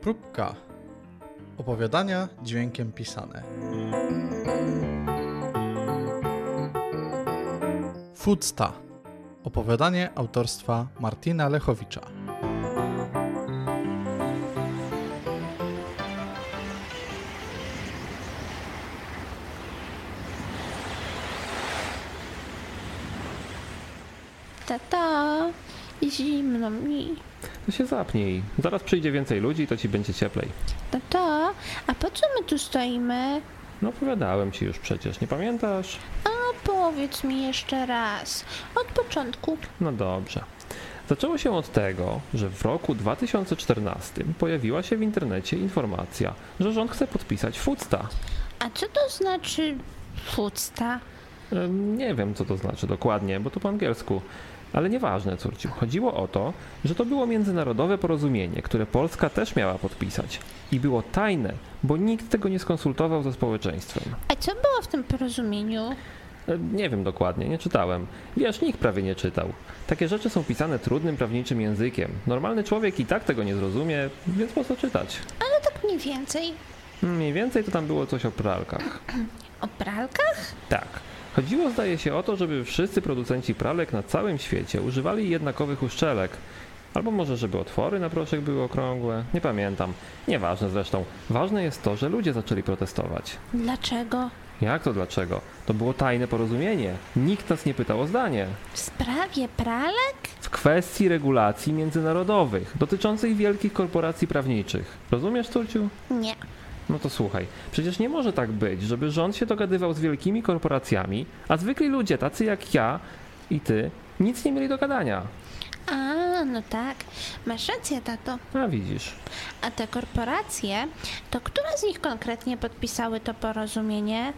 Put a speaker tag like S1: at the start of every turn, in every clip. S1: Próbka. Opowiadania dźwiękiem pisane. Foodsta. Opowiadanie autorstwa Martina Lechowicza.
S2: Tata, zimno mi.
S3: No się zapnij. Zaraz przyjdzie więcej ludzi, to ci będzie cieplej.
S2: Tata, a po co my tu stoimy?
S3: No opowiadałem ci już przecież, nie pamiętasz?
S2: No powiedz mi jeszcze raz. Od początku.
S3: No dobrze. Zaczęło się od tego, że w roku 2014 pojawiła się w internecie informacja, że rząd chce podpisać FUCTA.
S2: A co to znaczy fucta?
S3: Em, E, Nie wiem, co to znaczy dokładnie, bo to po angielsku. Ale nieważne, córciu. Chodziło o to, że to było międzynarodowe porozumienie, które Polska też miała podpisać. I było tajne, bo nikt tego nie skonsultował ze społeczeństwem.
S2: A co było w tym porozumieniu?
S3: E, Nie wiem dokładnie, nie czytałem. Wiesz, nikt prawie nie czytał. Takie rzeczy są pisane trudnym prawniczym językiem. Normalny człowiek i tak tego nie zrozumie, więc po co czytać?
S2: No tak mniej więcej.
S3: Mniej więcej to tam było coś o pralkach.
S2: O pralkach?
S3: Tak. Chodziło zdaje się o to, żeby wszyscy producenci pralek na całym świecie używali jednakowych uszczelek. Albo może, żeby otwory na proszek były okrągłe. Nie pamiętam. Nieważne zresztą. Ważne jest to, że ludzie zaczęli protestować.
S2: Dlaczego?
S3: Jak to dlaczego? To było tajne porozumienie. Nikt nas nie pytał o zdanie.
S2: W sprawie pralek?
S3: w kwestii regulacji międzynarodowych dotyczących wielkich korporacji prawniczych. Rozumiesz, Turciu?
S2: Nie.
S3: No to słuchaj, przecież nie może tak być, żeby rząd się dogadywał z wielkimi korporacjami, a zwykli ludzie, tacy jak ja i ty, nic nie mieli do gadania.
S2: A, no tak. Masz rację, tato.
S3: A widzisz.
S2: A te korporacje, to które z nich konkretnie podpisały to porozumienie?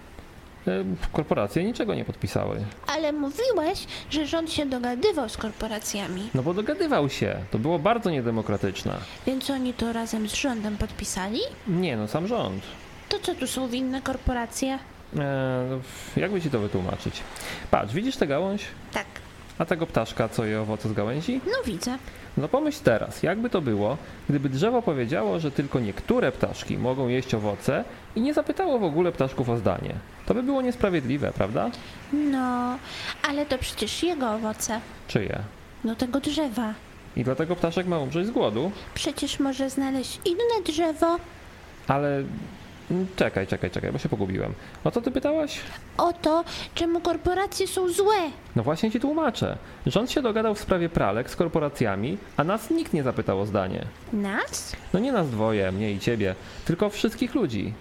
S3: E, Korporacje niczego nie podpisały.
S2: Ale mówiłeś, że rząd się dogadywał z korporacjami,
S3: No bo dogadywał się. To było bardzo niedemokratyczne.
S2: więc oni to razem z rządem podpisali?
S3: Nie, no sam rząd.
S2: To co tu są winne korporacje?
S3: E, no, jakby ci to wytłumaczyć? Patrz, widzisz tę gałąź?
S2: Tak,
S3: A tego ptaszka, co je owoce z gałęzi?
S2: no widzę.
S3: No pomyśl teraz, jakby to było, gdyby drzewo powiedziało, że tylko niektóre ptaszki mogą jeść owoce i nie zapytało w ogóle ptaszków o zdanie. To by było niesprawiedliwe, prawda?
S2: No, ale to przecież jego owoce.
S3: Czyje?
S2: No tego drzewa.
S3: I dlatego ptaszek ma umrzeć z głodu.
S2: Przecież może znaleźć inne drzewo.
S3: Ale... mm, Czekaj, czekaj, czekaj, bo się pogubiłem. O co ty pytałaś?
S2: O to, czemu korporacje są złe.
S3: No właśnie ci tłumaczę. Rząd się dogadał w sprawie pralek z korporacjami, a nas nikt nie zapytał o zdanie.
S2: Nas?
S3: No nie nas dwoje, mnie i ciebie, tylko wszystkich ludzi.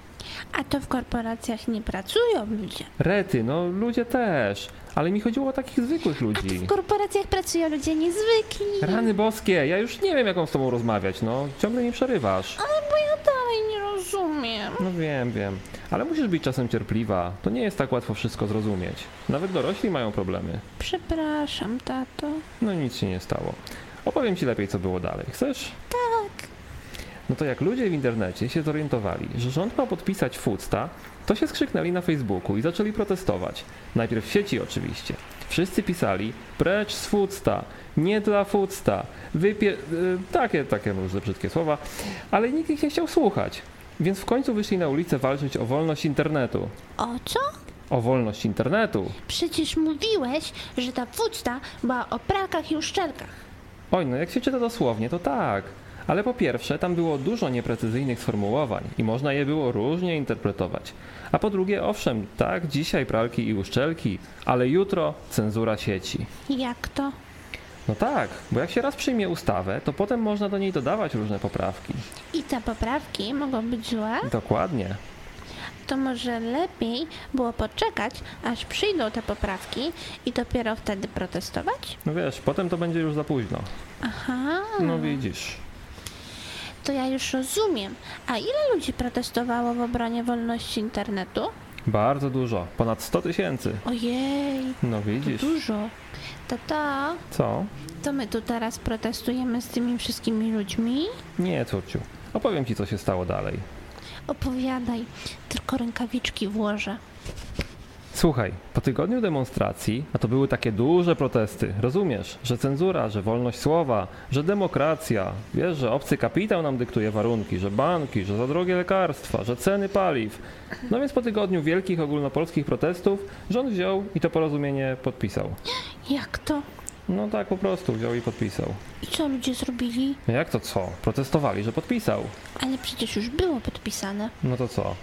S2: A to w korporacjach nie pracują ludzie.
S3: Rety, no ludzie też. Ale mi chodziło o takich zwykłych
S2: A to
S3: ludzi.
S2: w korporacjach pracują ludzie niezwykli.
S3: Rany boskie, ja już nie wiem, jaką z tobą rozmawiać, no. Ciągle mi przerywasz.
S2: Ale bo ja dalej nie rozumiem.
S3: No wiem, wiem. Ale musisz być czasem cierpliwa. To nie jest tak łatwo wszystko zrozumieć. Nawet dorośli mają problemy.
S2: Przepraszam, tato.
S3: No nic się nie stało. Opowiem ci lepiej, co było dalej. Chcesz?
S2: Tak.
S3: No to jak ludzie w internecie się zorientowali, że rząd ma podpisać FUCTA, to się skrzyknęli na Facebooku i zaczęli protestować. Najpierw w sieci oczywiście. Wszyscy pisali, precz z FUCTA, nie dla FUCTA, wypie... y, takie, takie różne brzydkie słowa, ale nikt ich nie chciał słuchać. Więc w końcu wyszli na ulicę walczyć o wolność internetu.
S2: O co?
S3: O wolność internetu!
S2: Przecież mówiłeś, że ta wódka była o pralkach i uszczelkach.
S3: Oj, no jak się czyta dosłownie, to tak. Ale po pierwsze, tam było dużo nieprecyzyjnych sformułowań i można je było różnie interpretować. A po drugie, owszem, tak, dzisiaj pralki i uszczelki, ale jutro cenzura sieci.
S2: Jak to?
S3: No tak, bo jak się raz przyjmie ustawę, to potem można do niej dodawać różne poprawki.
S2: I te poprawki mogą być złe?
S3: Dokładnie.
S2: To może lepiej było poczekać, aż przyjdą te poprawki i dopiero wtedy protestować?
S3: No wiesz, potem to będzie już za późno.
S2: Aha,
S3: No widzisz.
S2: to ja już rozumiem. A ile ludzi protestowało w obronie wolności internetu?
S3: Bardzo dużo, ponad 100 tysięcy.
S2: Ojej,
S3: No
S2: to
S3: widzisz.
S2: dużo. Tata,
S3: Co?
S2: to my tu teraz protestujemy z tymi wszystkimi ludźmi?
S3: Nie, córciu. Opowiem ci, co się stało dalej.
S2: Opowiadaj, tylko rękawiczki włożę.
S3: Słuchaj, po tygodniu demonstracji, a to były takie duże protesty, rozumiesz, że cenzura, że wolność słowa, że demokracja, wiesz, że obcy kapitał nam dyktuje warunki, że banki, że za drogie lekarstwa, że ceny paliw. No więc po tygodniu wielkich ogólnopolskich protestów rząd wziął i to porozumienie podpisał.
S2: Jak to?
S3: No tak po prostu wziął i podpisał. No
S2: I co ludzie zrobili?
S3: Jak to co? Protestowali, że podpisał.
S2: Ale przecież już było podpisane.
S3: No to co?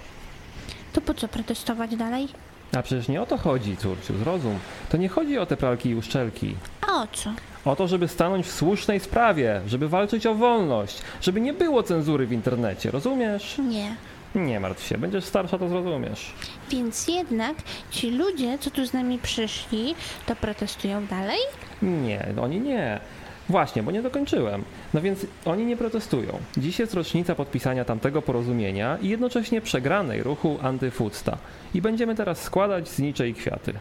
S2: To po co protestować dalej?
S3: A przecież nie o to chodzi, córciu, zrozum. To nie chodzi o te pralki i uszczelki.
S2: A o co?
S3: O to, żeby stanąć w słusznej sprawie, żeby walczyć o wolność, żeby nie było cenzury w internecie, rozumiesz?
S2: Nie.
S3: Nie martw się, będziesz starsza, to zrozumiesz.
S2: Więc jednak ci ludzie, co tu z nami przyszli, to protestują dalej?
S3: Nie, oni nie. Właśnie, bo nie dokończyłem. No więc oni nie protestują. Dziś jest rocznica podpisania tamtego porozumienia i jednocześnie przegranej ruchu antyfudsta. I będziemy teraz składać z niczej kwiaty.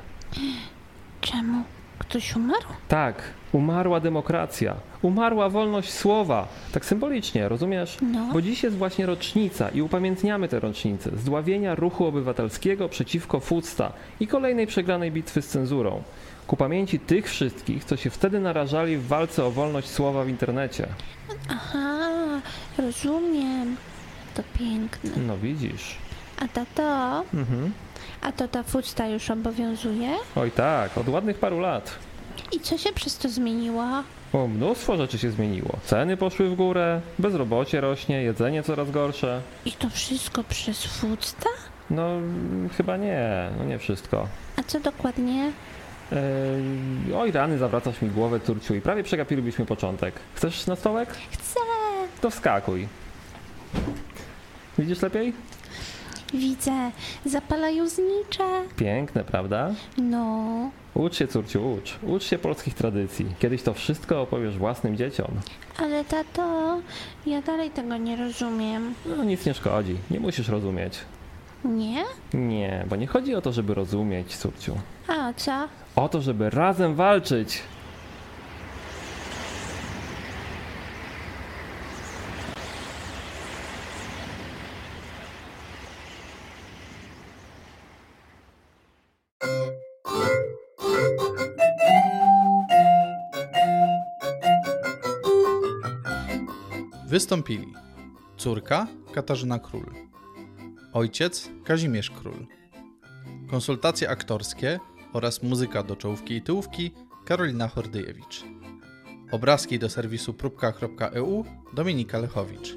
S2: Czemu? Ktoś umarł?
S3: Tak, umarła demokracja, umarła wolność słowa. Tak symbolicznie, rozumiesz?
S2: No.
S3: Bo dziś jest właśnie rocznica i upamiętniamy tę rocznicę zdławienia ruchu obywatelskiego przeciwko Fusta i kolejnej przegranej bitwy z cenzurą. Ku pamięci tych wszystkich, co się wtedy narażali w walce o wolność słowa w internecie.
S2: Aha, rozumiem. To piękne.
S3: No widzisz.
S2: A to to?
S3: Mhm.
S2: A to ta fusta już obowiązuje?
S3: Oj tak, od ładnych paru lat.
S2: I co się przez to zmieniło?
S3: O, mnóstwo rzeczy się zmieniło. Ceny poszły w górę, bezrobocie rośnie, jedzenie coraz gorsze.
S2: I to wszystko przez fusta?
S3: No, mm, chyba nie, no nie wszystko.
S2: A co dokładnie?
S3: Ej, Oj, rany, zawracasz mi głowę, Turciu, i prawie przegapilibyśmy początek. Chcesz na stołek?
S2: Chcę!
S3: To wskakuj. Widzisz lepiej?
S2: Widzę, zapalają znicze.
S3: Piękne, prawda?
S2: No,
S3: Ucz się, Córciu, ucz. Ucz się polskich tradycji. Kiedyś to wszystko opowiesz własnym dzieciom.
S2: ale tato, ja dalej tego nie rozumiem.
S3: No, nic nie szkodzi. Nie musisz rozumieć.
S2: Nie?
S3: Nie, bo nie chodzi o to, żeby rozumieć, Córciu.
S2: A o co?
S3: O to, żeby razem walczyć.
S1: Wystąpili córka Katarzyna Król, ojciec Kazimierz Król, konsultacje aktorskie oraz muzyka do czołówki i tyłówki Karolina Hordyjewicz, obrazki do serwisu próbka.eu Dominika Lechowicz,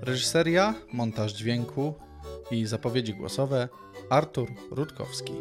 S1: reżyseria, montaż dźwięku i zapowiedzi głosowe Artur Rutkowski.